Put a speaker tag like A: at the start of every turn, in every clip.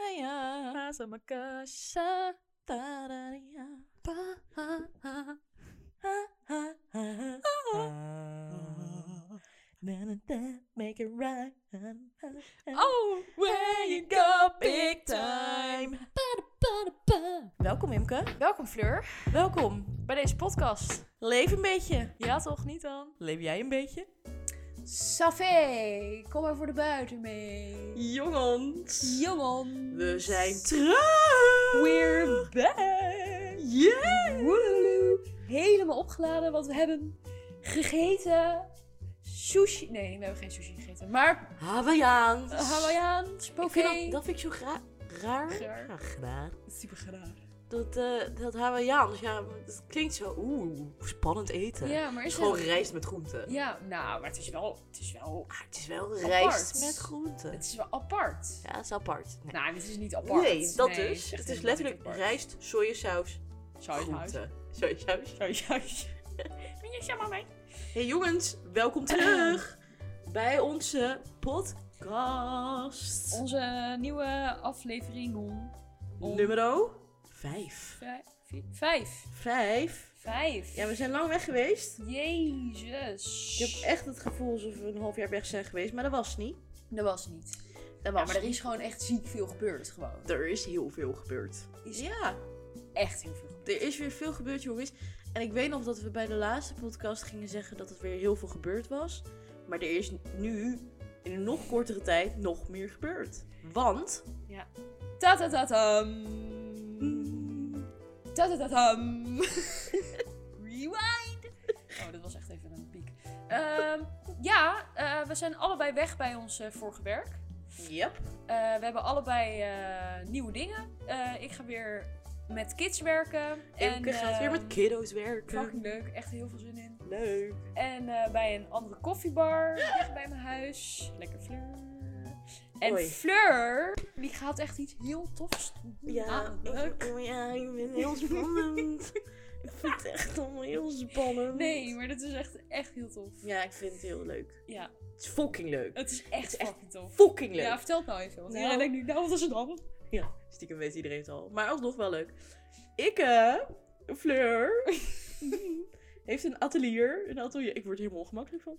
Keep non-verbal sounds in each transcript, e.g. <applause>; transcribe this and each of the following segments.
A: uh, casa, uma caixa. Tararia, pa, ha, ha, ha, ha, ha, ha. Na, na, na, Make it right.
B: Oh,
A: Where you go, big time. Welkom, Imke.
B: Welkom Fleur,
A: Welkom.
B: bij deze podcast.
A: Leef een beetje.
B: Ja toch, niet dan?
A: Leef jij een beetje?
B: Safé, kom maar voor de buiten mee.
A: Jongens.
B: Jongen.
A: We zijn terug.
B: We're back.
A: Yeah.
B: Helemaal opgeladen, want we hebben gegeten sushi. Nee, we hebben geen sushi gegeten, maar
A: Hawaiian.
B: eh, Hawaiiaans,
A: Ik vind
B: poké.
A: dat, dat vind ik zo gra- raar.
B: Raar.
A: Ja, raar.
B: super graag.
A: Dat, eh dat Hawaiiaans, ja, dat klinkt zo oeh, spannend eten.
B: Ja, maar
A: het is
B: is
A: gewoon
B: het-
A: rijst met groenten.
B: Ja, nou, maar het is wel, het is wel,
A: Maar het is wel rijst met groenten.
B: het is wel apart.
A: Ja, dat is apart. Nee,
B: Nou, dit is niet apart.
A: Nee, dat
B: Nee,
A: dus. Het
B: echt
A: is
B: helemaal
A: letterlijk
B: niet apart.
A: rijst, sojasaus,
B: Sojasaus.
A: groenten. Sojasaus.
B: <laughs> Sojasaus. Ben je jammer mee?
A: Hey jongens, welkom
B: Ehm.
A: terug bij onze podcast.
B: Onze nieuwe aflevering om... om-
A: Nummer 5.
B: Vijf. vier- Vijf.
A: 5.
B: Vijf.
A: Ja, we zijn lang weg geweest.
B: Jezus.
A: Ik heb echt het gevoel alsof we een half jaar weg zijn geweest, maar dat was niet.
B: Dat was niet.
A: Dat
B: Ja,
A: was
B: maar er
A: niet.
B: is gewoon echt ziek veel gebeurd. Gewoon.
A: Er is heel veel gebeurd.
B: Is-
A: Ja,
B: Echt heel veel gebeurd.
A: er is weer veel gebeurd, jongens. En ik weet nog dat we bij de laatste podcast gingen zeggen dat het weer heel veel gebeurd was. Maar er is nu, in een nog kortere tijd, nog meer gebeurd. Want...
B: Ta ta ta tam. Ta ta ta
A: <laughs>
B: tam. Rewind. Oh, dat was echt even een piek. Ehm, ja, eh, we zijn allebei weg bij ons eh, vorige werk.
A: Yep.
B: Eh, we hebben allebei eh, nieuwe dingen. Eh, ik ga weer met kids werken.
A: Imke gaat weer met
B: ehm,
A: kiddo's werken.
B: Fucking leuk, echt heel veel zin in.
A: Leuk.
B: En eh, bij een andere koffiebar, dicht bij mijn huis. Lekker Fleur. En
A: Hoi.
B: Fleur, die gaat echt iets heel tofs doen.
A: Ja,
B: Ah, leuk.
A: ik, ja, ik ben heel spannend. ik vind het echt allemaal heel spannend.
B: Nee, maar dat is echt, echt heel tof.
A: Ja, ik vind het heel leuk.
B: Ja,
A: Het is fucking leuk.
B: het is echt
A: Het is echt
B: fucking tof.
A: Fucking leuk.
B: Ja, vertel het nou even. Want
A: Nou.
B: iedereen denkt nu, nou wat is het dan?
A: Ja, stiekem weet iedereen het al. Maar alsnog wel leuk. Ik, eh, Fleur, heeft een atelier. Een atelier. Ik word er helemaal ongemakkelijk van.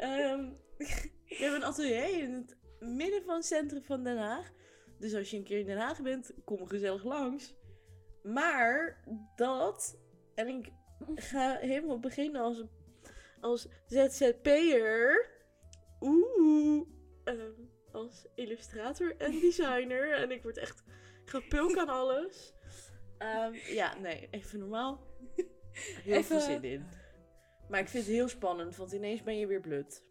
A: Ehm, we hebben een atelier in het midden van het centrum van Den Haag. Dus als je een keer in Den Haag bent, kom gezellig langs. Maar dat, en ik ga helemaal beginnen als, als ZZP'er. Oeh. ehm, als illustrator en
B: <laughs>
A: designer. en ik word echt gepulk aan alles. Ehm, ja, nee, even normaal. Heel
B: Even-
A: veel zin in. Maar ik vind het heel spannend, want ineens ben je weer blut.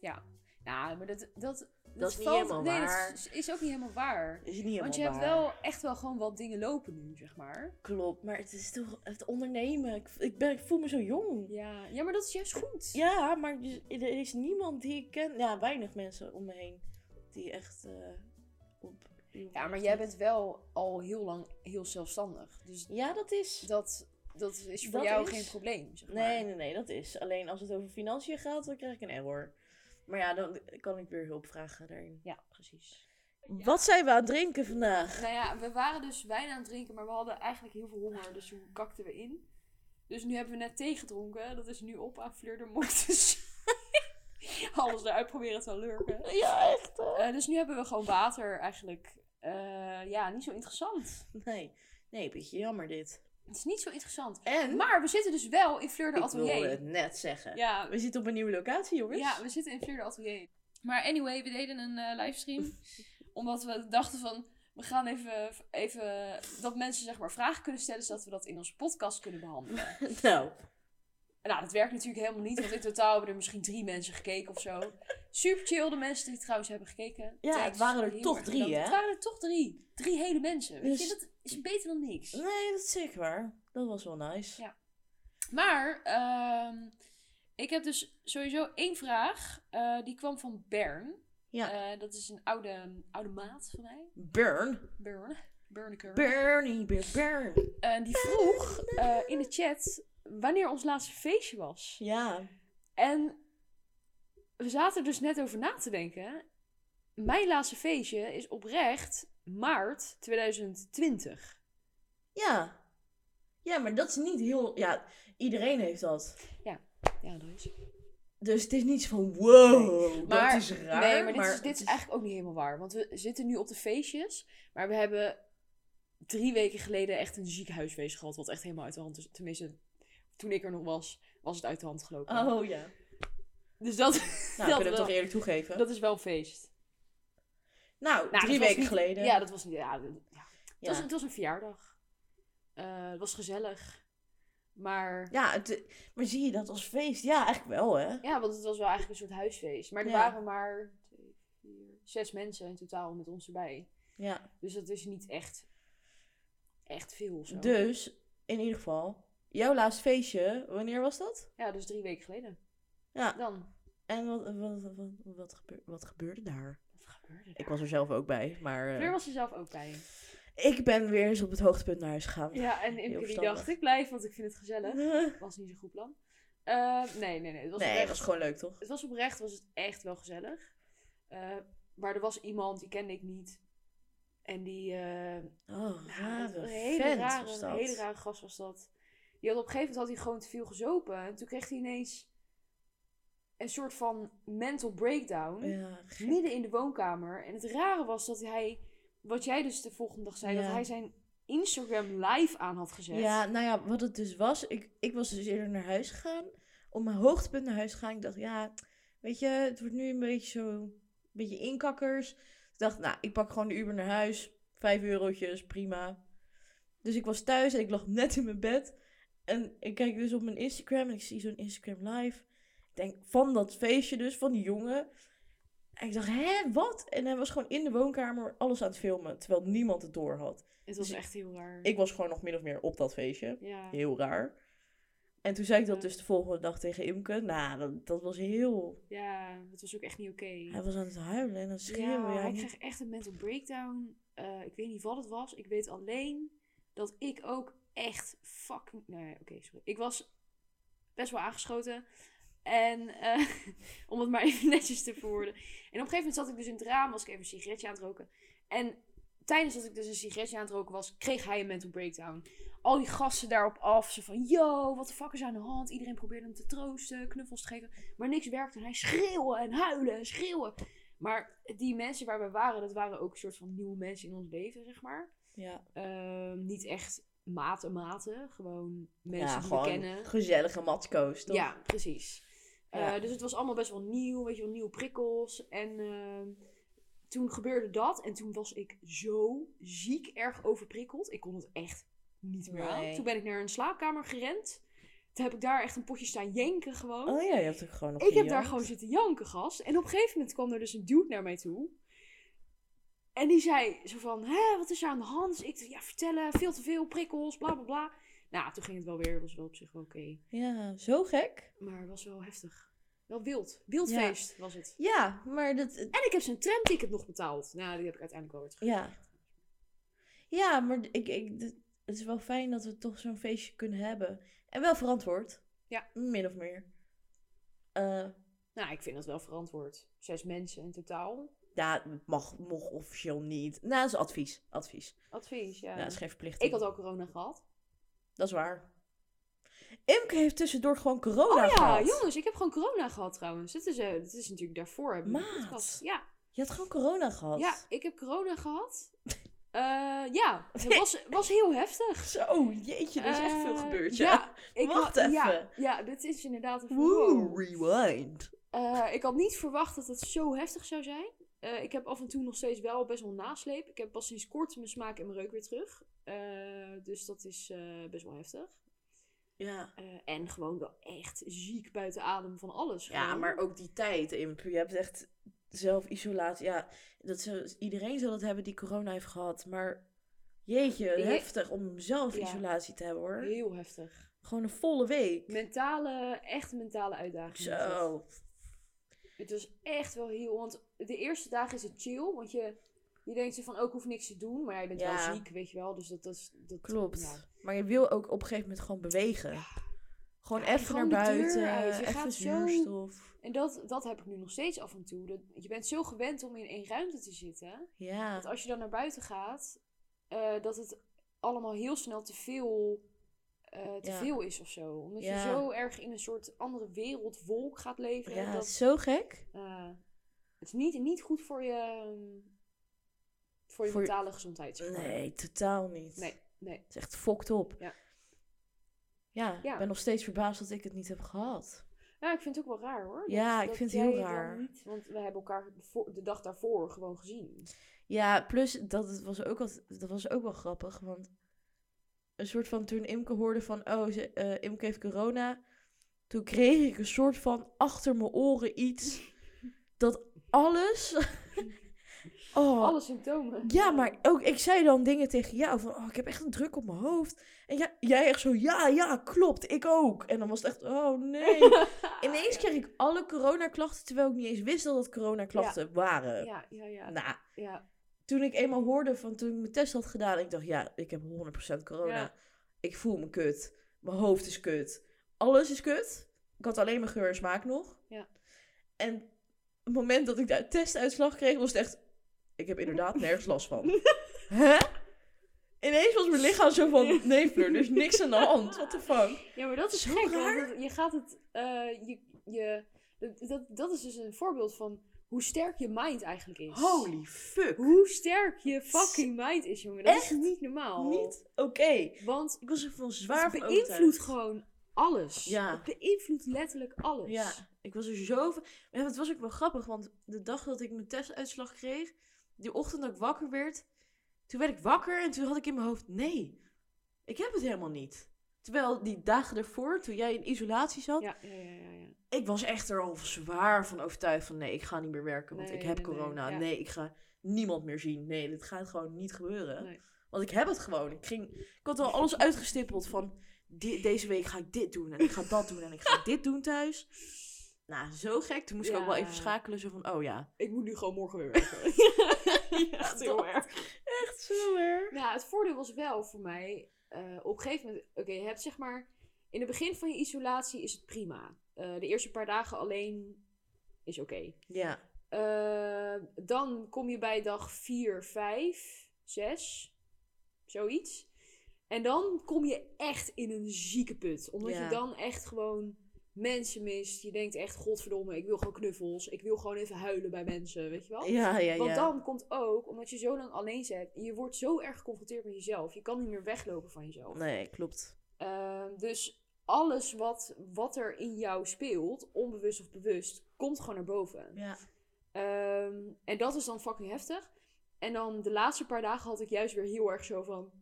B: Ja, nou, maar dat... Dat, dat,
A: is niet helemaal
B: nee,
A: waar.
B: dat is, is ook niet helemaal waar.
A: Is niet helemaal
B: Want je hebt
A: waar.
B: wel echt wel gewoon wat dingen lopen nu, zeg maar.
A: Klopt, maar het is toch het ondernemen. Ik, ik, ben, ik voel me zo jong.
B: Ja, ja maar dat is juist goed.
A: Ja, maar dus- er is niemand die ik ken. Ja, weinig mensen om me heen die echt eh, op.
B: Ja, maar jij bent wel al heel lang heel zelfstandig. Dus
A: Ja, dat is.
B: dat, dat is voor
A: Dat
B: jou
A: is-
B: geen probleem, zeg maar.
A: Nee, nee, nee, dat is. Alleen als het over financiën gaat, dan krijg ik een error. Maar ja, dan kan ik weer hulp vragen daarin.
B: Ja, precies.
A: Wat zijn we aan het drinken vandaag?
B: Nou ja, we waren dus wijn aan het drinken, maar we hadden eigenlijk heel veel honger. Dus toen kakten we in. Dus nu hebben we net thee gedronken. Dat is nu op aan Fleur de Mort. <laughs> Dus alles eruit proberen te lurken.
A: Ja, echt.
B: Eh, dus nu hebben we gewoon water eigenlijk. Eh, ja, niet zo interessant.
A: Nee, nee, beetje jammer dit.
B: Het is niet zo interessant.
A: En,
B: Maar we zitten dus wel in Fleur de
A: ik wilde
B: Atelier.
A: het net zeggen.
B: Ja,
A: We zitten op een nieuwe locatie, jongens.
B: Ja, we zitten in Fleur de Atelier. Maar anyway, we deden een eh, livestream.
A: <laughs>
B: omdat we dachten van, we gaan even, even dat mensen zeg maar vragen kunnen stellen, zodat we dat in onze podcast kunnen behandelen.
A: <laughs> Nou,
B: En nou, dat werkt natuurlijk helemaal niet, want in totaal hebben er misschien drie mensen gekeken of zo. Super chill de mensen die het trouwens hebben gekeken.
A: Ja, het waren er
B: heel
A: toch
B: erg
A: drie,
B: bedankt.
A: hè?
B: Het waren er toch drie. Drie hele mensen. Weet
A: Dus-
B: je, dat is beter dan niks.
A: nee, dat is zeker waar. Dat was wel nice.
B: Ja. Maar ehm, ik heb dus sowieso één vraag. Eh, die kwam van Bern.
A: Ja.
B: Eh, dat is een oude, oude maat van mij.
A: Burn.
B: Bern. Berneker.
A: Bernie, Beer Burn.
B: En die vroeg eh, in de chat wanneer ons laatste feestje was.
A: Ja.
B: En we zaten er dus net over na te denken. Mijn laatste feestje is oprecht maart 2020.
A: Ja. Ja, maar dat is niet heel... Ja, iedereen heeft dat.
B: Ja, dat is.
A: Dus het is niet zo van, wow,
B: Maar-
A: dat is raar.
B: nee, maar dit, is, dit
A: het
B: is eigenlijk ook niet helemaal waar. Want we zitten nu op de feestjes. Maar we hebben drie weken geleden echt een ziekenhuisfeest gehad. Wat echt helemaal uit de hand is. Tenminste, toen ik er nog was, was het uit de hand gelopen.
A: Oh ja.
B: Dus dat, <laughs>
A: Nou,
B: dat,
A: kunnen we
B: wel-
A: toch eerlijk toegeven.
B: dat is wel een feest.
A: nou,
B: Nou,
A: drie
B: dat was
A: weken
B: niet-
A: geleden.
B: Ja, dat was niet... Ja, dat- ja. Het,
A: Ja.
B: was, het was een verjaardag. Eh, het was gezellig. Maar
A: Ja, het- maar zie je dat als feest? Ja, eigenlijk wel, hè?
B: ja, want het was wel eigenlijk een soort huisfeest. Maar er
A: Ja.
B: waren maar twee, vier, zes mensen in totaal met ons erbij.
A: Ja.
B: Dus dat is niet echt, echt veel. of Zo.
A: Dus, in ieder geval, jouw laatste feestje, wanneer was dat?
B: Ja, dus drie weken geleden.
A: Ja.
B: Dan.
A: En wat, wat, wat, wat, gebeur- wat gebeurde daar?
B: Wat gebeurde er?
A: Ik was er zelf ook bij, maar eh,
B: Fleur was er zelf ook bij.
A: ik ben weer eens op het hoogtepunt naar huis gegaan. <laughs>
B: Ja, en Imke die
A: verstandig.
B: dacht, ik blijf, want ik vind het
A: <laughs>
B: gezellig. Was niet zo'n goed plan. Eh, nee, nee, nee. Het was,
A: nee,
B: oprecht,
A: dat was gewoon leuk, toch?
B: het was oprecht, was het echt wel gezellig. Eh, maar er was iemand, die kende ik niet. En die, eh,
A: Oh,
B: Ja,
A: rare
B: een hele
A: vent
B: rare,
A: was
B: Een
A: dat.
B: hele rare gast was dat. Die had op een gegeven moment had hij gewoon te veel gezopen. En toen kreeg hij ineens een soort van mental breakdown.
A: Ja,
B: Midden in de woonkamer. En het rare was dat hij, wat jij dus de volgende dag zei,
A: Ja.
B: dat hij zijn Instagram live aan had gezet.
A: Ja, nou ja, wat het dus was, ik, ik was dus eerder naar huis gegaan. Op mijn hoogtepunt naar huis gegaan. Ik dacht, ja, weet je, het wordt nu een beetje zo, een beetje inkakkers. Ik dacht, nou, ik pak gewoon de Uber naar huis. Vijf eurotjes, prima. Dus ik was thuis en ik lag net in mijn bed. En ik kijk dus op mijn Instagram en ik zie zo'n Instagram live. Ik denk, van dat feestje dus, van die jongen. En ik dacht, hè, wat? En hij was gewoon in de woonkamer alles aan het filmen, terwijl niemand het door had.
B: Het was
A: Dus
B: echt heel raar.
A: Ik was gewoon nog min of meer op dat feestje.
B: ja.
A: Heel raar. En toen zei ik dat
B: Ja.
A: dus de volgende dag tegen Imke. Nou, dat, dat was heel...
B: ja, dat was ook echt niet oké.
A: Hij was aan het huilen en aan het schreeuwen.
B: Ja,
A: Ja,
B: ik
A: niet-
B: kreeg echt een mental breakdown. Eh, ik weet niet wat het was. Ik weet alleen dat ik ook echt fucking... Nee, oké, sorry. Ik was best wel aangeschoten. En eh, <laughs> om het maar even netjes te verwoorden. En op een gegeven moment zat ik dus in het raam, was ik even een sigaretje aan het roken. En tijdens dat ik dus een sigaretje aan het roken was, kreeg hij een mental breakdown. Al die gasten daarop af. Ze van, yo, wat de fuck is aan de hand? Iedereen probeerde hem te troosten, knuffels te geven. Maar niks werkte. En hij schreeuwen en huilen en schreeuwen. Maar die mensen waar we waren, dat waren ook een soort van nieuwe mensen in ons leven, zeg maar.
A: ja.
B: Ehm, niet echt maten maten, gewoon mensen
A: ja,
B: die
A: gewoon
B: we kennen.
A: gezellige matskoos, toch?
B: Ja, precies.
A: Ja.
B: Eh, dus het was allemaal best wel nieuw, weet je wel, nieuwe prikkels. En ehm, toen gebeurde dat en toen was ik zo ziek erg overprikkeld. Ik kon het echt niet meer aan.
A: Nee.
B: Toen ben ik naar een slaapkamer gerend. Toen heb ik daar echt een potje staan jenken gewoon.
A: Oh ja, je hebt ook gewoon nog
B: Ik heb daar
A: gejankt.
B: gewoon zitten janken, gast. En op een gegeven moment kwam er dus een dude naar mij toe. En die zei zo van, hè, wat is er aan de hand? Dus ik dacht, ja, vertellen, veel te veel prikkels, bla, bla, bla. Nou, toen ging het wel weer, was wel op zich wel oké.
A: Ja, zo gek.
B: Maar het was wel heftig. Wel wild. Wildfeest was het.
A: Ja, maar dat...
B: En ik heb zijn tramticket nog betaald. Nou, die heb ik uiteindelijk wel weer terug.
A: Ja. Ja, maar ik, ik, d- het is wel fijn dat we toch zo'n feestje kunnen hebben. En wel verantwoord.
B: Ja.
A: Min of meer. Eh,
B: Nou, ik vind dat wel verantwoord. Zes mensen in totaal.
A: ja, het mag, mocht officieel niet. Nou, dat is advies. Advies.
B: Advies, ja.
A: Ja, dat is geen verplichting.
B: ik had al corona gehad.
A: Dat is waar. Imke heeft tussendoor gewoon corona
B: Oh ja,
A: gehad.
B: jongens, ik heb gewoon corona gehad trouwens. Dat is, eh, dat is natuurlijk daarvoor. Heb ik een
A: Maat.
B: podcast. Ja,
A: Je had gewoon corona gehad.
B: Ja, ik heb corona gehad. <laughs> Eh, ja, het
A: <laughs>
B: was, was heel heftig.
A: Zo, jeetje, er is echt veel
B: Eh,
A: gebeurd. Ja.
B: Ja, ik
A: Wacht
B: had- Ja,
A: even.
B: ja, dit is inderdaad een
A: Woe,
B: wow.
A: rewind.
B: Eh, Ik had niet verwacht dat het zo heftig zou zijn. Eh, ik heb af en toe nog steeds wel best wel nasleep. Ik heb pas sinds kort mijn smaak en mijn reuk weer terug. Eh, dus dat is eh, best wel heftig.
A: Ja.
B: Eh, en gewoon wel echt ziek buiten adem van alles.
A: ja,
B: gewoon.
A: maar ook die tijd, Imke. Je hebt echt zelfisolatie. Ja, dat ze, iedereen zal dat hebben die corona heeft gehad. Maar jeetje,
B: Je-
A: heftig om zelfisolatie te hebben, hoor.
B: Heel heftig.
A: Gewoon een volle week.
B: Mentale, echt mentale uitdaging. was het.
A: Zo.
B: Het was echt wel heel... Want de eerste dagen is het chill. Want je, je denkt zo van, ook hoef niks te doen. Maar ja, je bent
A: Ja.
B: wel ziek, weet je wel. Dus dat, dat is... Dat,
A: Klopt.
B: ja.
A: Maar je wil ook op een gegeven moment gewoon bewegen. Gewoon
B: Ja, en
A: even
B: gewoon
A: naar
B: de deur
A: buiten,
B: uit. Je
A: even
B: gaat zo-
A: zuurstof.
B: En dat, dat heb ik nu nog steeds af en toe. Dat, je bent zo gewend om in één ruimte te zitten.
A: Ja.
B: Dat als je dan naar buiten gaat, eh, dat het allemaal heel snel te veel, eh, te
A: Ja.
B: veel is of zo. Omdat
A: Ja.
B: je zo erg in een soort andere wereldwolk gaat leven.
A: Ja,
B: dat,
A: het is zo gek.
B: eh, het is niet, niet goed voor je, ehm, voor je
A: Voor je-
B: mentale gezondheid. zeg maar.
A: Nee, totaal niet.
B: Nee, nee.
A: Het is echt fokt op.
B: Ja.
A: Ja,
B: Ja.
A: ik ben nog steeds verbaasd dat ik het niet heb gehad.
B: Nou, ik vind het ook wel raar hoor.
A: Ja, ik vind het heel
B: jij dan
A: raar.
B: Niet, want we hebben elkaar voor- de dag daarvoor gewoon gezien.
A: Ja, plus dat, het was, ook wat, dat was ook wel grappig. Want een soort van toen Imke hoorde van, oh, ze, eh, Imke heeft corona. Toen kreeg ik een soort van achter mijn oren iets. dat alles.
B: <laughs>
A: oh,
B: Alle symptomen.
A: Ja, maar ook ik zei dan dingen tegen jou van, oh, ik heb echt een druk op mijn hoofd. En ja, jij echt zo, ja, ja, klopt, ik ook. En dan was het echt, oh
B: <laughs>
A: nee. Ineens kreeg ik alle coronaklachten, terwijl ik niet eens wist dat het coronaklachten waren.
B: Ja, ja, ja.
A: Nou,
B: ja.
A: toen ik eenmaal hoorde van, toen ik mijn test had gedaan, ik dacht, ja, ik heb 100% corona.
B: Ja.
A: Ik voel me kut. Mijn hoofd is kut. Alles is kut. Ik had alleen mijn geur en smaak nog.
B: Ja.
A: En het moment dat ik de testuitslag kreeg, was het echt... Ik heb inderdaad nergens last
B: <laughs>
A: van. Hè? Ineens was mijn lichaam zo van... Nee, Fleur, er is niks aan de hand. What the fuck?
B: Ja, maar dat is
A: Zo
B: gek. want
A: raar.
B: het- je gaat het... eh, je, je, dat- dat, dat is dus een voorbeeld van hoe sterk je mind eigenlijk is.
A: Holy fuck.
B: Hoe sterk je fucking mind is, jongen. Dat is
A: Echt
B: niet normaal.
A: Niet oké.
B: Want
A: Ik was er van zwaar
B: het
A: van
B: beïnvloedt
A: overtuigd.
B: gewoon alles.
A: Ja.
B: Het beïnvloedt letterlijk alles.
A: Ja, ik was er zo van... Ja, het was ook wel grappig, want de dag dat ik mijn testuitslag kreeg... Die ochtend dat ik wakker werd... Toen werd ik wakker en toen had ik in mijn hoofd... Nee, ik heb het helemaal niet. Terwijl die dagen daarvoor, toen jij in isolatie zat...
B: Ja, ja, ja, ja, ja.
A: ik was echt er al zwaar van overtuigd van nee, ik ga niet meer werken, want
B: Nee,
A: ik heb
B: nee, nee,
A: corona. Nee,
B: ja.
A: ik ga niemand meer zien. Nee, dit gaat gewoon niet gebeuren.
B: Nee.
A: Want ik heb het gewoon. Ik, ging, ik had al alles uitgestippeld van di- deze week ga ik dit doen en ik ga dat doen en ik ga dit doen thuis. Nou, zo gek. Toen moest ik ook wel
B: Ja.
A: even schakelen. Zo van, oh ja.
B: Ik moet nu gewoon morgen <laughs> weer werken.
A: <laughs>
B: Echt heel
A: dat.
B: erg.
A: Echt zo erg.
B: Nou, het voordeel was wel voor mij. eh, op een gegeven moment. Oké, je hebt zeg maar. In het begin van je isolatie is het prima. Eh, de eerste paar dagen alleen is oké.
A: Ja.
B: Eh, dan kom je bij dag 4, 5, 6. Zoiets. En dan kom je echt in een zieke put. Omdat
A: Ja.
B: je dan echt gewoon mensen mist. Je denkt echt, godverdomme, ik wil gewoon knuffels. Ik wil gewoon even huilen bij mensen, weet je wel?
A: Ja, ja,
B: Want
A: ja.
B: dan komt ook, omdat je zo lang alleen zit, je wordt zo erg geconfronteerd met jezelf. Je kan niet meer weglopen van jezelf.
A: Nee, klopt.
B: Ehm, dus alles wat, wat er in jou speelt, onbewust of bewust, komt gewoon naar boven.
A: Ja.
B: Ehm, en dat is dan fucking heftig. En dan de laatste paar dagen had ik juist weer heel erg zo van.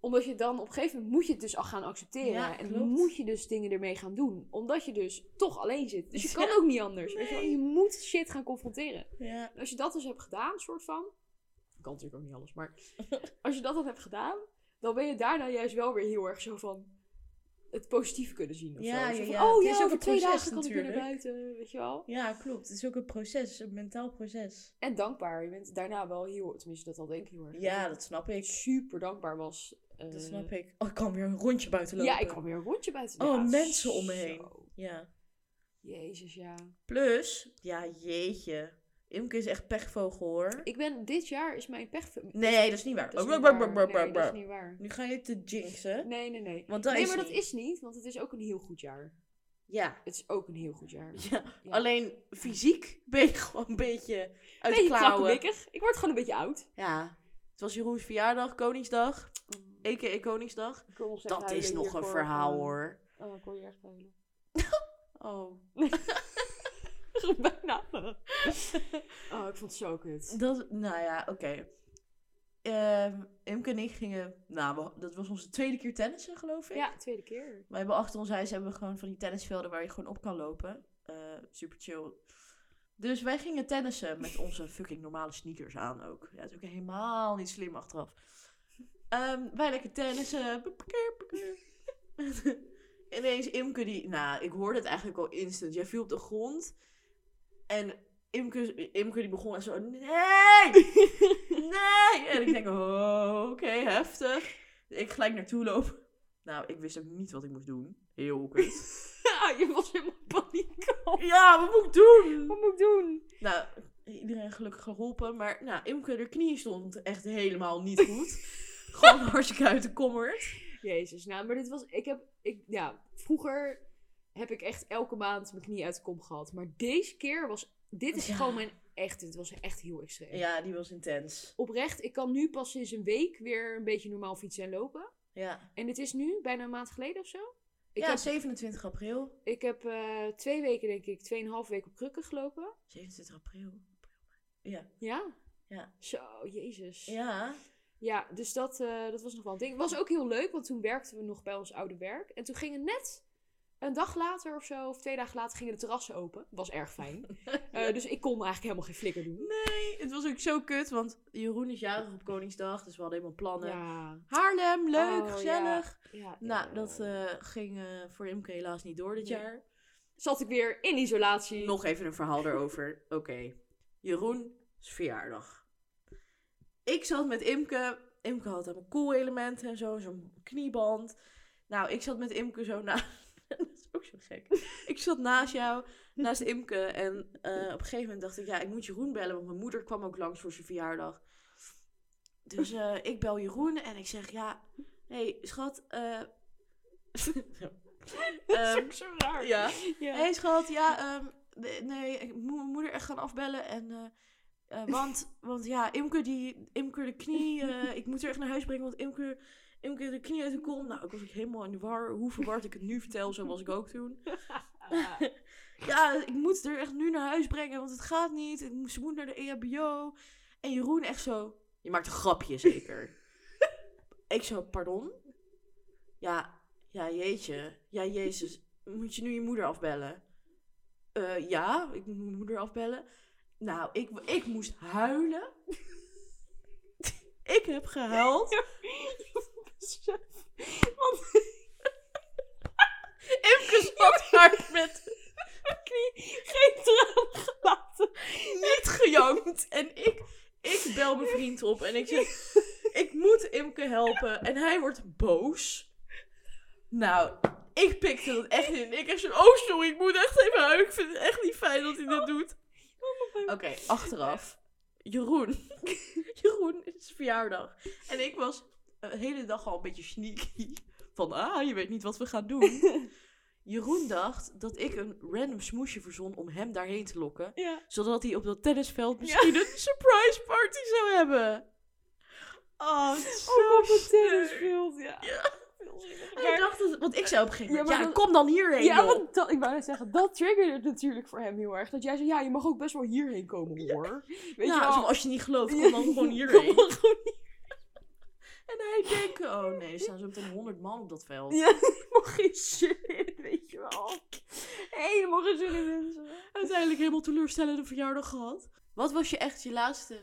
B: Omdat je dan op een gegeven moment moet je het dus al gaan accepteren.
A: Ja,
B: en
A: klopt.
B: moet je dus dingen ermee gaan doen. Omdat je dus toch alleen
A: <laughs>
B: zit. Dus je kan
A: Ja.
B: ook niet anders. weet je wel.
A: Nee.
B: Je moet shit gaan confronteren.
A: Ja.
B: En Als je dat dus hebt gedaan, soort van. Ik kan natuurlijk ook niet alles,
A: <laughs>
B: maar. Als je dat dan hebt gedaan, dan ben je daarna juist wel weer heel erg zo van. Het positieve kunnen zien. Of
A: Ja,
B: zo. Zo
A: ja,
B: van,
A: ja.
B: Oh
A: Het
B: ja,
A: is ook
B: over
A: een
B: twee
A: proces
B: dagen kan ik weer naar
A: natuurlijk.
B: buiten, weet je wel.
A: Ja, klopt. Het is ook een proces. Een mentaal proces.
B: En dankbaar. Je bent daarna wel heel, tenminste, dat al denk ik heel erg.
A: Ja, dat snap
B: ik
A: ik.
B: super dankbaar was. eh,
A: Dat snap ik. Oh, ik kan weer een rondje buiten lopen.
B: Ja, ik kwam weer een rondje buiten.
A: Oh,
B: Ja,
A: mensen om me
B: zo.
A: heen. Ja.
B: Jezus, ja.
A: Plus, ja, jeetje. Imke is echt pechvogel hoor.
B: Ik ben, dit jaar is mijn pech...
A: Nee, dat is niet waar.
B: Dat is niet waar. Nee, dat is niet waar.
A: Nu ga je te jinxen.
B: Nee, nee, nee.
A: Want dat
B: nee,
A: is
B: maar dat
A: niet.
B: is niet, want het is ook een heel goed jaar.
A: Ja.
B: Het is ook een heel goed jaar.
A: ja.
B: Ja.
A: Alleen fysiek ben je <laughs> gewoon een beetje uit de
B: beetje
A: klauwen.
B: klakkebikkig. Ik word gewoon een beetje oud.
A: Ja. Het was Jeroens verjaardag, Koningsdag. A.k.a. Koningsdag.
B: Ik kon nog steeds
A: Dat
B: huilen
A: is nog een
B: hiervoor.
A: verhaal
B: Oh,
A: hoor.
B: Oh, ik kon je echt <laughs> huilen.
A: Oh.
B: Bijna. <laughs> Oh, ik vond het zo kut.
A: Dat, nou ja, oké. Ehm, Imke en ik gingen, nou, we- dat was onze tweede keer tennissen, geloof ik.
B: Ja, tweede <laughs> keer.
A: We hebben achter ons huis hebben we gewoon van die tennisvelden waar je gewoon op kan lopen. Eh, super chill. Dus wij gingen tennissen met onze fucking normale sneakers aan ook. Ja, dat is ook helemaal niet slim achteraf. Ehm, wij lekker tennissen. <laughs> Ineens Imke die... Nou, ik hoorde het eigenlijk al instant. Jij viel op de grond. En Imke, Imke die begon en zo... Nee! Nee! En ik denk, oh, oké, heftig. Ik gelijk naartoe lopen. Nou, ik wist ook niet wat ik moest doen. Heel kut. <laughs>
B: Ah, je was helemaal <laughs> in paniek.
A: ja, wat moet ik doen?
B: Wat moet ik doen?
A: Nou, iedereen gelukkig geholpen. Maar nou, Imke, de knie stond echt helemaal niet <laughs> goed. Gewoon hartstikke uit de kommer.
B: Jezus, nou, maar dit was... Ik heb... Ik, ja, vroeger heb ik echt elke maand mijn knie uit de kom gehad. Maar deze keer was... Dit is
A: Ja.
B: gewoon mijn echt... Dit was echt heel extreem.
A: Ja, die was intens.
B: Oprecht, ik kan nu pas sinds een week weer een beetje normaal fietsen en lopen.
A: Ja,
B: En dit is nu bijna een maand geleden of zo. Ik
A: ja
B: heb,
A: 27 april.
B: ik heb eh, twee weken, denk ik, tweeënhalf weken op krukken gelopen.
A: 27 april. Ja.
B: Ja.
A: Ja.
B: Zo, jezus.
A: Ja.
B: Ja, dus dat, eh, dat was nog wel een ding. Was ook heel leuk, want toen werkten we nog bij ons oude werk. En toen gingen net een dag later of zo, of twee dagen later, gingen de terrassen open. Was erg fijn.
A: <laughs>
B: Eh, dus ik kon eigenlijk helemaal geen flikker doen.
A: Nee, het was ook zo kut, want Jeroen is jarig op Koningsdag, dus we hadden helemaal plannen.
B: Ja.
A: Haarlem, leuk,
B: Oh,
A: gezellig.
B: ja
A: Nou,
B: ja.
A: dat eh, ging eh, voor Imke helaas niet door dit
B: Nee.
A: jaar.
B: Zat ik weer in isolatie. <laughs>
A: Nog even een verhaal erover. Oké, Jeroen is verjaardag. Ik zat met Imke. Imke had allemaal cool elementen en zo, zo'n knieband. Nou, ik zat met Imke zo na. <laughs> dat is ook zo gek. Ik zat naast jou, naast Imke. En eh, op een gegeven moment dacht ik, ja, ik moet Jeroen bellen, want mijn moeder kwam ook langs voor zijn verjaardag. Dus eh, ik bel Jeroen en ik zeg, ja, hé, hey, schat. eh <laughs>
B: dat is
A: Ehm,
B: ook zo raar.
A: ja.
B: Ja.
A: Hé hey, schat, ja, ehm, de- nee, ik moet mijn moeder echt gaan afbellen. En, eh, eh, want, want ja, Imke, die, Imke de knie, eh, ik moet haar echt naar huis brengen, want Imke, Imke de knie uit de kom. Nou, ik was ook helemaal in de war. Hoe verward ik het nu vertel, zo was ik ook toen.
B: Ah.
A: Ja, ik moet haar echt nu naar huis brengen, want het gaat niet. Ik moet- Ze moet naar de E EHBO. En Jeroen echt zo, je maakt een grapje zeker. ik zo, pardon? Ja, ja, jeetje. Ja, jezus. Moet je nu je moeder afbellen? Eh, ja, ik moet mijn moeder afbellen. Nou, ik, ik moest huilen. ik heb gehuild.
B: <laughs> Want <laughs>
A: Imke zat daar <laughs> met
B: geen traan gelaten.
A: niet gejankt. En ik, ik bel mijn vriend op en ik zeg... Ik moet Imke helpen. En hij wordt boos. Nou, ik pikte dat echt in. Ik echt zo'n... Oh, sorry, ik moet echt even huilen. Ik vind het echt niet fijn dat hij dit doet. Oké, achteraf. Jeroen. <laughs> Jeroen is verjaardag. En ik was eh, de hele dag al een beetje sneaky. Van, ah, je weet niet wat we gaan doen. Jeroen dacht dat ik een random smoesje verzon om hem daarheen te lokken.
B: Ja.
A: Zodat hij op dat tennisveld misschien een surprise party zou hebben. Oh, <laughs> het is zo
B: Ook op het
A: sneu.
B: tennisveld, ja. Heel zielig.
A: Hij dacht dat, want ik zei op een gegeven
B: Ja,
A: moment, ja,
B: maar dat-
A: kom dan hierheen.
B: Ja,
A: joh.
B: want dat, ik wou net zeggen, dat triggerde het natuurlijk voor hem heel erg. Dat jij zei, ja, je mag ook best wel hierheen komen hoor. Weet
A: ja,
B: je
A: zo,
B: wel?
A: als je niet gelooft, kom dan
B: <laughs>
A: gewoon hierheen.
B: Kom dan gewoon hier.
A: En hij denkt, oh nee, er staan zo meteen honderd man op dat veld.
B: Ja, <laughs> helemaal geen zin in, weet je wel. Helemaal geen zin in mensen.
A: uiteindelijk helemaal teleurstellende verjaardag gehad. Wat was je echt je laatste,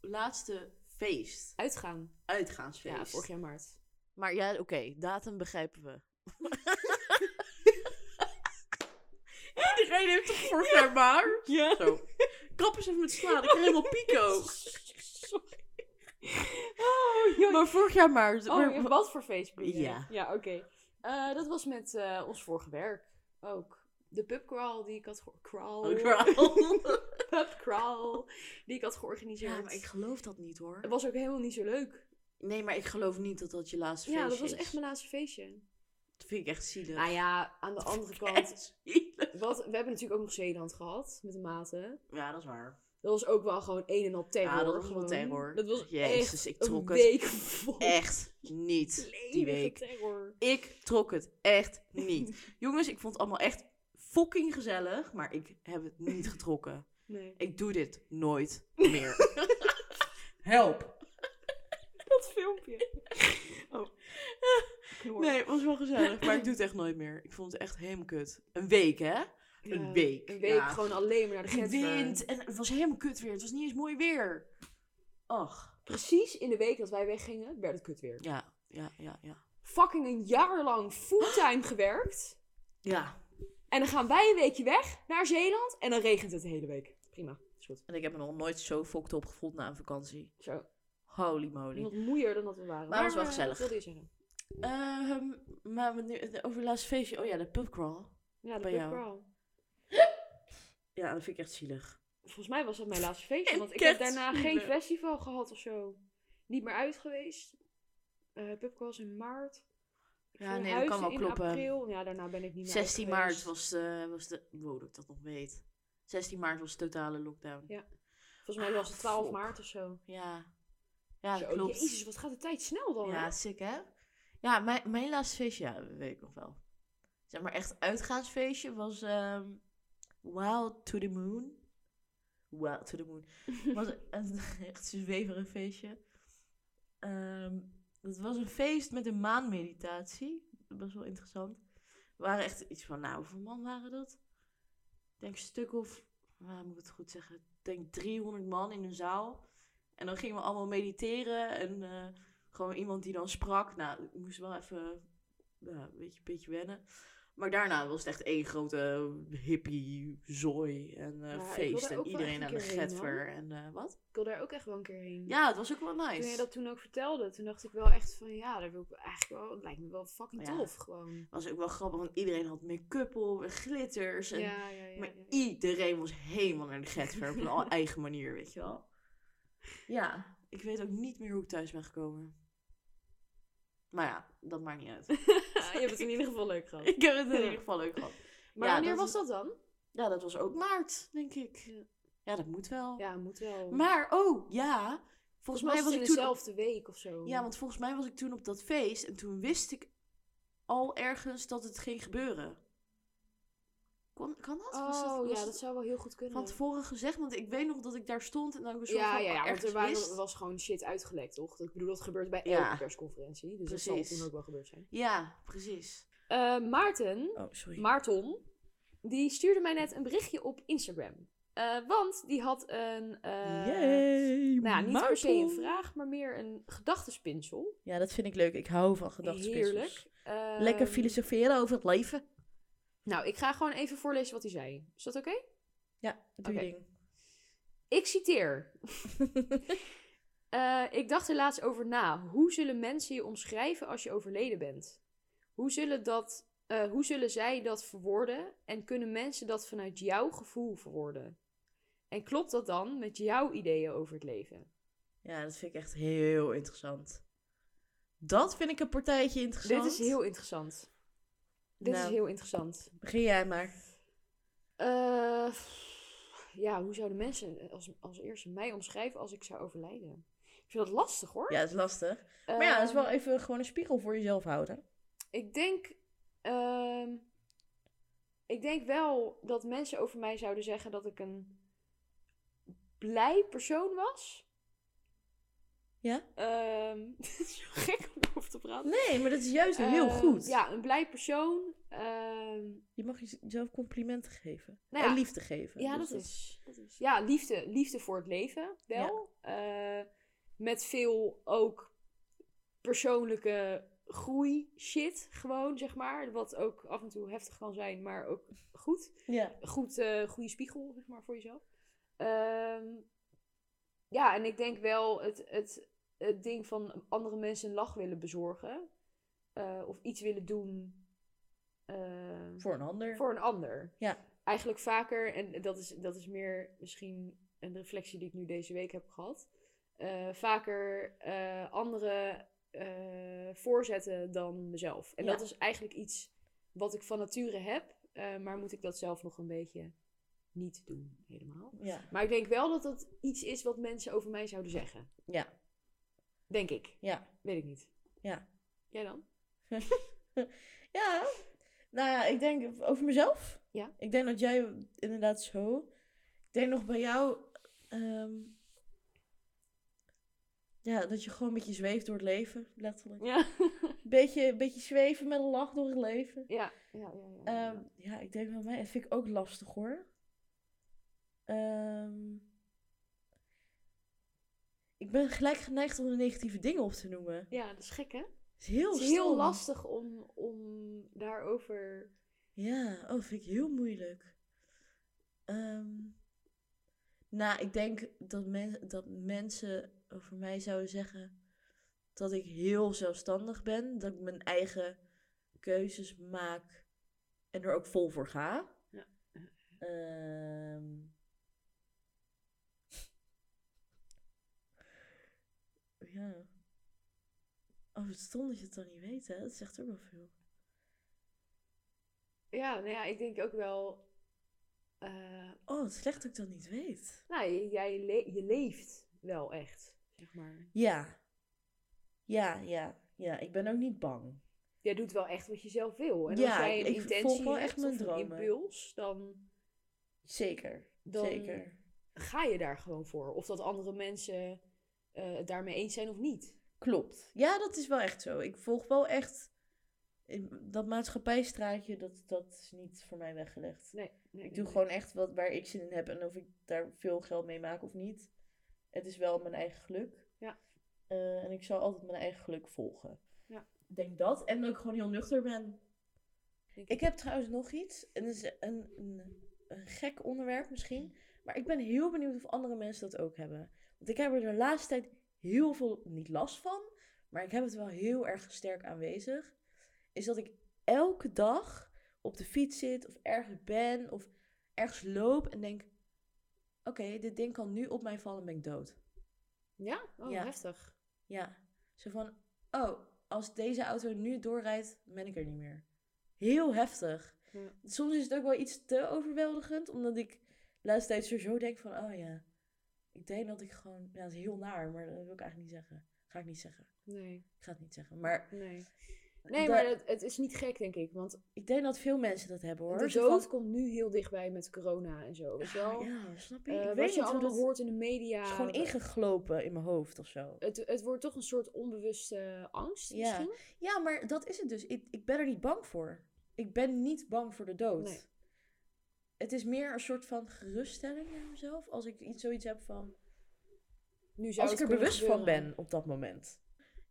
A: laatste feest?
B: Uitgaan.
A: Uitgaansfeest.
B: Ja, vorig jaar maart.
A: Maar ja, oké, datum begrijpen we. Iedereen heeft toch vorig jaar maar?
B: Ja.
A: Zo. Kap eens even met slaan, ik heb helemaal pico.
B: <laughs> Sorry. Oh, joh.
A: Maar vorig jaar maart.
B: Oh,
A: maar-
B: ja, wat voor feest bedoel je?
A: Ja.
B: Ja, oké. Eh, dat was met eh, ons vorige werk ook. De pubcrawl die ik had geor- crawl.
A: Oh,
B: <laughs>
A: girl.
B: Pubcrawl die ik had georganiseerd.
A: ja, maar ik geloof dat niet hoor.
B: Het was ook helemaal niet zo leuk.
A: Nee, maar ik geloof niet dat dat je laatste
B: ja,
A: feest
B: dat
A: is.
B: was echt mijn laatste feestje.
A: Dat vind ik echt zielig.
B: Nou ja, aan de andere
A: <laughs>
B: kant.
A: Echt zielig.
B: Wat, we hebben natuurlijk ook nog Zeeland gehad met de maten.
A: Ja, dat is waar.
B: Dat was ook wel gewoon een en al terror.
A: Ja, dat was gewoon terror.
B: Dat was
A: Jezus,
B: echt
A: ik trok
B: een
A: het
B: week vol
A: Echt niet. Die
B: lelijke
A: week.
B: terror.
A: Ik trok het echt
B: <laughs>
A: niet. Jongens, ik vond het allemaal echt fucking gezellig, maar ik heb het niet getrokken.
B: Nee.
A: Ik doe dit nooit
B: <laughs>
A: meer. Help.
B: Dat filmpje. Oh.
A: Nee, het was wel gezellig, maar ik doe het echt nooit meer. Ik vond het echt helemaal kut. Een week, hè? een
B: Ja,
A: week,
B: Een week
A: ja.
B: gewoon alleen maar naar de grens.
A: Wind. En het was helemaal kut weer. Het was niet eens mooi weer. Ach.
B: Precies in de week dat wij weggingen, werd het kut weer.
A: Ja, ja, ja, ja.
B: Fucking een jaar lang fulltime <gasps> gewerkt.
A: Ja.
B: En dan gaan wij een weekje weg naar Zeeland. En dan regent het de hele week. Prima, is goed.
A: En ik heb me nog nooit zo fokt opgevoeld na een vakantie.
B: Zo.
A: Holy moly.
B: Nog moeier dan dat we waren.
A: Maar het was wel
B: eh,
A: gezellig.
B: Dat wil je zeggen.
A: Ehm, maar we nu, over het laatste feestje. Oh ja, de pubcrawl.
B: Ja, de
A: Bij
B: pub
A: jou.
B: crawl.
A: Ja, dat vind ik echt zielig.
B: Volgens mij was dat mijn
A: <laughs>
B: laatste feestje,
A: En
B: want ik heb
A: kerst-
B: daarna geen festival gehad of zo. Niet meer uit geweest. Eh Pubcrawl is in maart. Ik
A: Ja,
B: verhuisde
A: nee, dat kan wel
B: in
A: kloppen.
B: April. Ja, daarna ben ik niet meer
A: 16
B: uit
A: maart
B: nou geweest.
A: was de, was de... Wow, dat ik dat nog weet. 16 maart was de totale lockdown.
B: Ja. Volgens mij was het 12
A: Fok.
B: maart of zo.
A: Ja, Ah, ja
B: Zo,
A: dat klopt.
B: Jezus, wat gaat de tijd snel dan?
A: Ja,
B: hè?
A: sick hè? Ja, mijn, mijn laatste feestje, ja, dat weet ik nog wel. Zeg maar echt uitgaansfeestje was ehm, Wild to the Moon. Wild to the
B: <laughs>
A: Moon. was een <laughs> echt zweverig feestje. Ehm, het was een feest met een maanmeditatie. Best wel interessant. We waren echt iets van, nou, hoeveel man waren dat? Ik denk een stuk of, nou, moet ik het goed zeggen? Ik denk 300 man in een zaal. En dan gingen we allemaal mediteren en... eh, gewoon iemand die dan sprak. Nou, ik moest wel even ja, een beetje, beetje wennen. Maar daarna was het echt één grote hippie zooi en eh,
B: Ja, ik wil
A: feest.
B: daar
A: En
B: ook wel
A: iedereen
B: echt
A: aan
B: een
A: de
B: keer heen,
A: getver. En eh, wat?
B: Ik wil daar ook echt wel een keer heen.
A: Ja, het was ook wel nice.
B: Toen je dat toen ook vertelde, toen dacht ik wel echt van ja, daar wil ik eigenlijk wel, het lijkt me wel fucking
A: Ja.
B: tof gewoon.
A: was ook wel grappig, want iedereen had make-up op en glitters. En...
B: Ja, ja, ja.
A: Dus
B: <laughs>
A: maar
B: ja.
A: iedereen was helemaal naar de getver op een
B: <laughs>
A: al- eigen manier, weet je wel. Ja, ik weet ook niet meer hoe ik thuis ben gekomen. Maar ja, dat maakt niet uit. <laughs>
B: je hebt het in ieder geval leuk gehad.
A: ik heb het in ieder geval leuk gehad.
B: Maar
A: Ja,
B: wanneer
A: dat
B: was
A: is-
B: dat dan?
A: Ja, dat was ook maart, denk ik.
B: Ja.
A: Ja, dat moet wel.
B: Ja, moet wel.
A: Maar, oh, ja. Volgens mij was
B: het
A: ik
B: in
A: toen... op-
B: dezelfde week of zo.
A: Ja, want volgens mij was ik toen op dat feest. En toen wist ik al ergens dat het ging gebeuren. Kon, kan dat? Was dat-
B: Oh
A: was
B: ja,
A: dat
B: dat zou wel heel goed kunnen.
A: van tevoren gezegd? Want ik weet nog dat ik daar stond en dat ik een soort
B: ja,
A: van oh,
B: ja, ja, want
A: ergens
B: er waren,
A: wist.
B: was gewoon shit uitgelekt, toch? Ik bedoel, dat gebeurt bij
A: Ja.
B: elke persconferentie. Dus dat
A: Precies.
B: zal toen ook wel gebeurd zijn.
A: Ja, precies.
B: Eh, Maarten,
A: Oh, sorry.
B: Maarton, die stuurde mij net een berichtje op Instagram. Eh, want die had een... eh,
A: Yay,
B: Nou ja, niet per se een
A: Maarten.
B: vraag, maar meer een gedachtespinsel.
A: Ja, dat vind ik leuk. Ik hou van gedachtespinsels.
B: Heerlijk. Ehm,
A: Lekker filosoferen over het leven.
B: Nou, ik ga gewoon even voorlezen wat hij zei. Is dat oké?
A: Ja, doe
B: Oké.
A: je ding.
B: Ik
A: <laughs>
B: citeer. Eh, ik dacht er laatst over na. Hoe zullen mensen je omschrijven als je overleden bent? Hoe zullen, dat, eh, hoe zullen zij dat verwoorden? En kunnen mensen dat vanuit jouw gevoel verwoorden? En klopt dat dan met jouw ideeën over het leven?
A: Ja, dat vind ik echt heel interessant. Dat vind ik een partijtje interessant.
B: Dit is heel interessant. Dit
A: Nou.
B: is heel interessant.
A: Begin jij maar.
B: Eh, ja, hoe zouden mensen als, als eerste mij omschrijven als ik zou overlijden? Ik vind dat lastig hoor.
A: Ja, dat is lastig. Maar ja, dat is
B: Ehm,
A: wel even gewoon een spiegel voor jezelf houden.
B: Ik denk. ehm, ik denk wel dat mensen over mij zouden zeggen dat ik een blij persoon was.
A: Ja?
B: Ehm, <laughs> het is zo gek om over te praten.
A: Nee, maar dat is juist heel
B: Ehm,
A: goed.
B: Ja, een blij persoon. ehm,
A: Je mag jezelf complimenten geven.
B: Nou ja.
A: en liefde geven.
B: ja,
A: Dus
B: dat is, dat is. Ja, liefde, liefde voor het leven wel. Eh, met veel ook persoonlijke groei shit gewoon, zeg maar. Wat ook af en toe heftig kan zijn, maar ook goed.
A: Ja.
B: goed, eh, goede spiegel, zeg maar, voor jezelf. Ehm, ja, en ik denk wel het, het, het ding van andere mensen een lach willen bezorgen. eh, of iets willen doen eh,
A: Voor een ander.
B: voor een ander.
A: Ja.
B: Eigenlijk vaker, en dat is, dat is meer misschien een reflectie die ik nu deze week heb gehad. eh, vaker eh, anderen eh, voorzetten dan mezelf. En
A: Ja.
B: dat is eigenlijk iets wat ik van nature heb, eh, maar moet ik dat zelf nog een beetje niet doen helemaal.
A: Ja.
B: Maar ik denk wel dat dat iets is wat mensen over mij zouden zeggen.
A: Ja.
B: Denk ik.
A: Ja.
B: Weet ik niet.
A: Ja.
B: Jij dan?
A: Ja. Nou ja, ik denk over mezelf.
B: Ja.
A: Ik denk dat jij inderdaad zo. Ik denk nog bij jou. ehm, ja, dat je gewoon een beetje zweeft door het leven, letterlijk.
B: Ja.
A: Beetje, beetje zweven met een lach door het leven.
B: Ja. ja, ja, ja, ja.
A: Ehm, ja, ik denk wel mij. Dat vind ik ook lastig hoor. Ehm, ik ben gelijk geneigd om de negatieve dingen op te noemen.
B: Ja, dat is gek hè?
A: Het is heel,
B: Het is heel
A: stom.
B: lastig om, om daarover.
A: Ja, oh, dat vind ik heel moeilijk. Ehm, nou, ik denk dat, men, dat mensen over mij zouden zeggen dat ik heel zelfstandig ben. Dat ik mijn eigen keuzes maak en er ook vol voor ga.
B: Ja.
A: Ehm, ja. Oh, het stond dat je het dan niet weet, hè? Dat zegt ook wel veel.
B: Ja, nou ja, ik denk ook wel. eh,
A: Oh, het is slecht dat ik dat niet weet.
B: nou, j- jij le- je leeft wel echt, zeg maar.
A: Ja. Ja, ja, ja. Ik ben ook niet bang.
B: Jij doet wel echt wat je zelf wil. En
A: Ja,
B: als jij een
A: ik- ik
B: intentie
A: volg wel
B: hebt
A: echt mijn
B: of een
A: dromen.
B: impuls, dan,
A: Zeker.
B: dan
A: Zeker.
B: ga je daar gewoon voor. Of dat andere mensen eh, het daarmee eens zijn of niet.
A: Klopt. Ja, dat is wel echt zo. Ik volg wel echt. eh, Dat maatschappijstraatje, dat, dat is niet voor mij weggelegd.
B: Nee, nee,
A: Ik doe gewoon echt wat, waar ik zin in heb en of ik daar veel geld mee maak of niet. Het is wel mijn eigen geluk.
B: Ja.
A: Eh, en ik zal altijd mijn eigen geluk volgen.
B: Ja.
A: Ik denk dat. En dat ik gewoon heel nuchter ben.
B: Denk
A: Ik heb trouwens nog iets. En dat is een, een, een gek onderwerp misschien. Maar ik ben heel benieuwd of andere mensen dat ook hebben. Want ik heb er de laatste tijd heel veel, niet last van. Maar ik heb het wel heel erg sterk aanwezig. Is dat ik elke dag op de fiets zit of ergens ben of ergens loop en denk... Oké, dit ding kan nu op mij vallen en ben ik dood.
B: Ja? Oh,
A: Ja.
B: heftig.
A: Ja. Zo van, oh, als deze auto nu doorrijdt, ben ik er niet meer. Heel heftig.
B: Ja.
A: Soms is het ook wel iets te overweldigend, omdat ik de laatste tijd sowieso denk van, oh ja, ik denk dat ik gewoon, ja, het is heel naar, maar dat wil ik eigenlijk niet zeggen. Ga ik niet zeggen.
B: Nee,
A: Ik ga het niet zeggen. Maar
B: nee. Nee,
A: Da-
B: maar het, het is niet gek, denk ik. Want
A: ik denk dat veel mensen dat hebben hoor.
B: de
A: Zo van-
B: dood komt nu heel dichtbij met corona en zo. Weet je wel?
A: Ja, snap je?
B: Eh,
A: ik
B: wat
A: weet niet,
B: je
A: want
B: allemaal
A: het
B: hoort in de media.
A: is gewoon ingeglopen in mijn hoofd of zo.
B: het, het wordt toch een soort onbewuste angst
A: Ja.
B: misschien?
A: Ja, maar dat is het dus. Ik, ik ben er niet bang voor. Ik ben niet bang voor de dood.
B: Nee.
A: Het is meer een soort van geruststelling naar mezelf. Als ik iets, zoiets heb van.
B: Nu zou
A: Als ik
B: het
A: er
B: kunnen
A: bewust van
B: gebeuren.
A: ben op dat moment.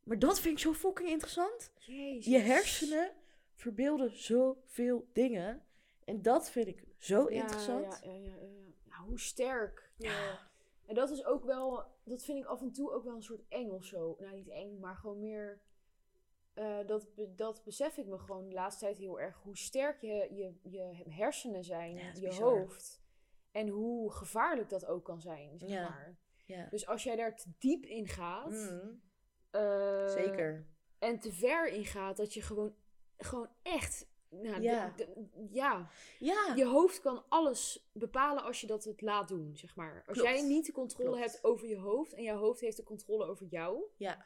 A: Maar dat vind ik zo fucking interessant.
B: Jezus.
A: Je hersenen verbeelden zoveel dingen. En dat vind ik zo
B: Ja,
A: interessant.
B: Ja, ja, ja, ja, ja. Ja, hoe sterk. je-
A: Ja.
B: En dat is ook wel, dat vind ik af en toe ook wel een soort eng of zo. Nou, niet eng, maar gewoon meer. eh, dat, be- dat besef ik me gewoon de laatste tijd heel erg. Hoe sterk je, je, je hersenen zijn,
A: Ja, dat is
B: je
A: bizar.
B: hoofd. En hoe gevaarlijk dat ook kan zijn, zeg
A: Ja.
B: maar.
A: Ja.
B: Dus als jij daar te diep in gaat.
A: Mm,
B: eh,
A: zeker.
B: En te ver in gaat, dat je gewoon, gewoon echt. Nou,
A: Ja.
B: de- de- ja,
A: Ja.
B: je hoofd kan alles bepalen als je dat het laat doen, zeg maar. Als
A: Klopt.
B: jij niet de controle
A: Klopt.
B: hebt over je hoofd en jouw hoofd heeft de controle over jou.
A: Ja.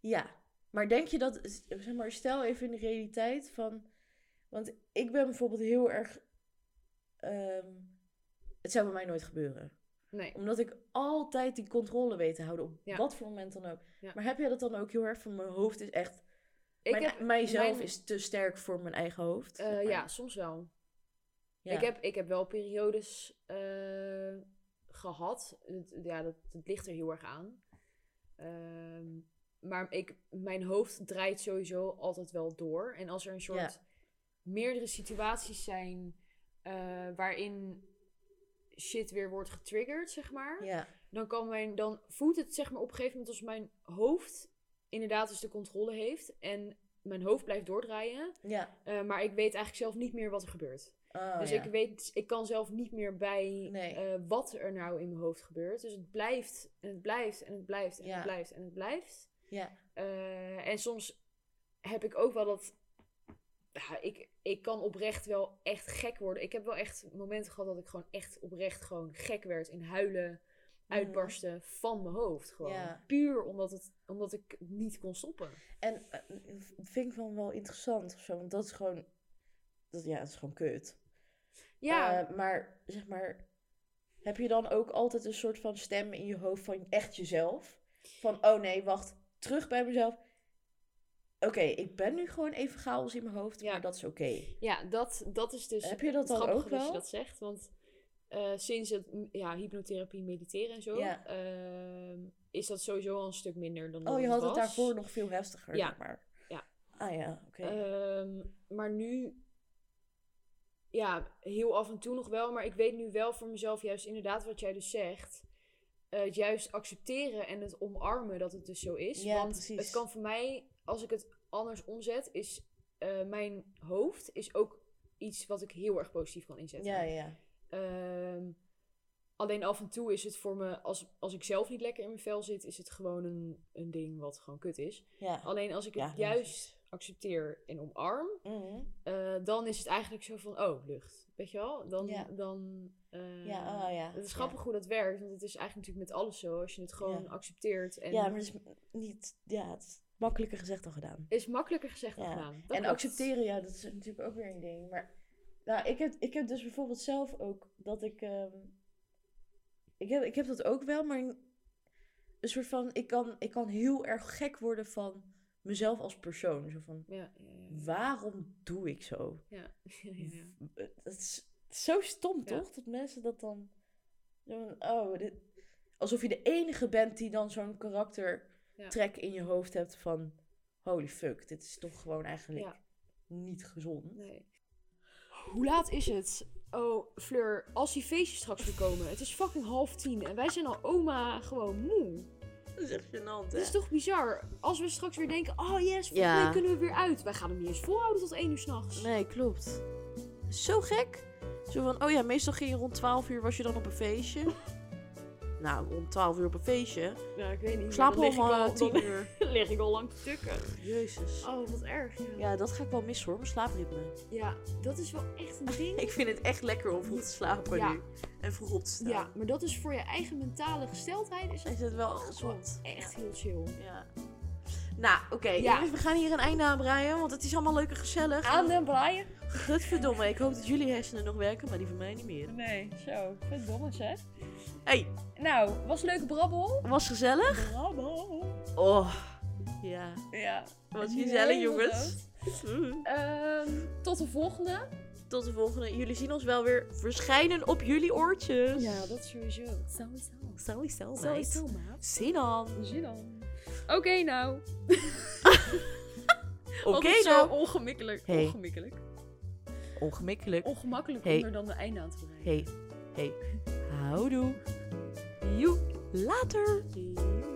A: Ja. Maar denk je dat, zeg maar, stel even in de realiteit van. Want ik ben bijvoorbeeld heel erg. ehm, het zou bij mij nooit gebeuren.
B: Nee.
A: Omdat ik altijd die controle weet te houden op
B: Ja.
A: wat voor moment dan ook.
B: Ja.
A: Maar heb jij dat dan ook heel erg van mijn hoofd is echt.
B: Ik
A: mijn- e,
B: heb,
A: mijzelf
B: mijn-
A: is te sterk voor mijn eigen hoofd.
B: eh,
A: zeg maar.
B: ja, soms wel.
A: Ja.
B: Ik, heb, ik heb wel periodes eh, gehad. Het- ja, dat, dat ligt er heel erg aan. Ehm, maar ik, mijn hoofd draait sowieso altijd wel door. En als er een soort
A: Ja.
B: meerdere situaties zijn eh, waarin shit weer wordt getriggerd, zeg maar.
A: Ja.
B: dan, kan mijn, dan voelt het zeg maar op een gegeven moment als mijn hoofd inderdaad dus de controle heeft. En mijn hoofd blijft doordraaien.
A: Ja.
B: eh, maar ik weet eigenlijk zelf niet meer wat er gebeurt.
A: Oh,
B: dus
A: ja.
B: ik, weet, ik kan zelf niet meer bij
A: Nee.
B: eh, wat er nou in mijn hoofd gebeurt. Dus het blijft en het blijft en het blijft en
A: Ja.
B: het blijft en het blijft.
A: Ja.
B: Eh, en soms heb ik ook wel dat... Ja, ik, ik kan oprecht wel echt gek worden. Ik heb wel echt momenten gehad dat ik gewoon echt oprecht gewoon gek werd. In huilen, uitbarsten van mijn hoofd. Gewoon.
A: Mm. Ja.
B: Puur omdat, het, omdat ik het niet kon stoppen.
A: En eh, vind ik dan wel interessant of zo. Want dat is gewoon. Dat, ja, dat is gewoon kut.
B: Ja,
A: Eh, maar zeg maar, heb je dan ook altijd een soort van stem in je hoofd van echt jezelf? Van, oh nee, wacht, terug bij mezelf. Oké, ik ben nu gewoon even chaos in mijn hoofd,
B: Ja.
A: maar dat is oké.
B: ja dat, dat is dus
A: Heb je dat
B: het
A: dan
B: grappige
A: ook
B: dat
A: wel?
B: je dat zegt. Want eh, sinds het, m- ja, hypnotherapie, mediteren en zo,
A: Ja.
B: ehm, is dat sowieso al een stuk minder dan
A: Oh,
B: dat
A: je had
B: was.
A: het daarvoor nog veel heftiger,
B: Ja.
A: zeg maar.
B: Ja.
A: Ah ja, oké.
B: Ehm, maar nu, ja, heel af en toe nog wel. Maar ik weet nu wel voor mezelf, juist inderdaad wat jij dus zegt. eh, het juist accepteren en het omarmen dat het dus zo is.
A: Ja,
B: Want
A: precies.
B: het kan voor mij, als ik het anders omzet, is eh, mijn hoofd is ook iets wat ik heel erg positief kan inzetten.
A: Ja, ja.
B: Ehm, alleen af en toe is het voor me, als, als ik zelf niet lekker in mijn vel zit, is het gewoon een, een ding wat gewoon kut is.
A: ja.
B: Alleen als ik het
A: Ja, logisch.
B: juist accepteer en omarm,
A: Mhm.
B: eh, dan is het eigenlijk zo van, oh, lucht. Weet je wel? Dan,
A: Ja.
B: dan eh,
A: Ja, oh ja,
B: Het is
A: ja.
B: grappig hoe dat werkt, want het is eigenlijk natuurlijk met alles zo. Als je het gewoon
A: Ja.
B: accepteert. En
A: ja, maar het is niet... Ja, het is makkelijker gezegd dan gedaan.
B: is makkelijker gezegd dan
A: Ja.
B: gedaan. Dat
A: en
B: klopt.
A: accepteren, ja, dat is natuurlijk ook weer een ding. Maar nou, ik, heb, ik heb dus bijvoorbeeld zelf ook dat ik. ehm, ik, heb, ik heb dat ook wel, maar een soort van. Ik kan, ik kan heel erg gek worden van mezelf als persoon. Zo van:
B: Ja, ja, ja.
A: waarom doe ik zo?
B: Ja, <laughs> ja, ja.
A: Dat is zo stom,
B: Ja.
A: toch? Dat mensen dat dan. zo van, Oh, dit, alsof je de enige bent die dan zo'n karaktertrek in je hoofd hebt van. Holy fuck, dit is toch gewoon eigenlijk
B: Ja.
A: niet gezond.
B: Nee. Hoe laat is het? Oh, Fleur, als die feestjes straks weer komen. Het is fucking half tien en wij zijn al oma gewoon moe.
A: Dus Dat is echt gênant,
B: Dat is toch bizar? Als we straks weer denken, oh yes, volgende
A: Eh. Ja.
B: week kunnen we weer uit. Wij gaan hem niet eens volhouden tot één uur s'nachts.
A: Nee, klopt. Zo gek. Zo van, oh ja, meestal ging je rond 12 uur, was je dan op een feestje. <laughs> nou, rond 12 uur op een feestje.
B: Ja, ik weet niet.
A: Slaap
B: dan lig ik
A: allemaal
B: al
A: tien
B: dan
A: uur.
B: <laughs> lig ik al lang te tukken.
A: Jezus.
B: Oh, wat erg. Ja.
A: Ja, dat ga ik wel missen hoor, mijn slaapritme.
B: Ja, dat is wel echt een ding.
A: Ik vind het echt lekker om vroeg te slapen
B: Ja.
A: nu. En vroeg op te staan.
B: Ja, maar dat is voor je eigen mentale gesteldheid is dat
A: Is het wel gezond.
B: echt heel chill.
A: Ja. Nou, oké.
B: Ja.
A: jongens, We gaan hier een einde aan breien, want het is allemaal leuk en gezellig.
C: den Brian?
A: Godverdomme, ik hoop dat jullie hersenen nog werken, maar die van mij niet meer.
C: Nee, zo. Ik vind het dom hè?
A: hey,
C: Nou, was leuke brabbel.
A: was gezellig?
C: Brabbel.
A: Oh, ja.
C: Ja.
A: Wat
C: Die
A: gezellig,
C: hele
A: jongens.
C: Ehm, tot de volgende.
A: Tot de volgende. Jullie zien ons wel weer verschijnen op jullie oortjes.
B: dat sowieso.
C: Sowieso.
A: Sowieso,
B: Sowieso,
A: meid.
B: maat.
A: Zin dan.
C: Zie dan. Oké, nou.
A: Oké
C: Altijd zo
A: dan.
C: Ongemakkelijk.
A: Hey.
C: Ongemakkelijk.
A: Ongemakkelijk.
C: Ongemakkelijk
A: Hey.
C: om er dan de einde aan te brengen.
A: Hey, hey. Houdoe. Joe. Later.
B: Joe.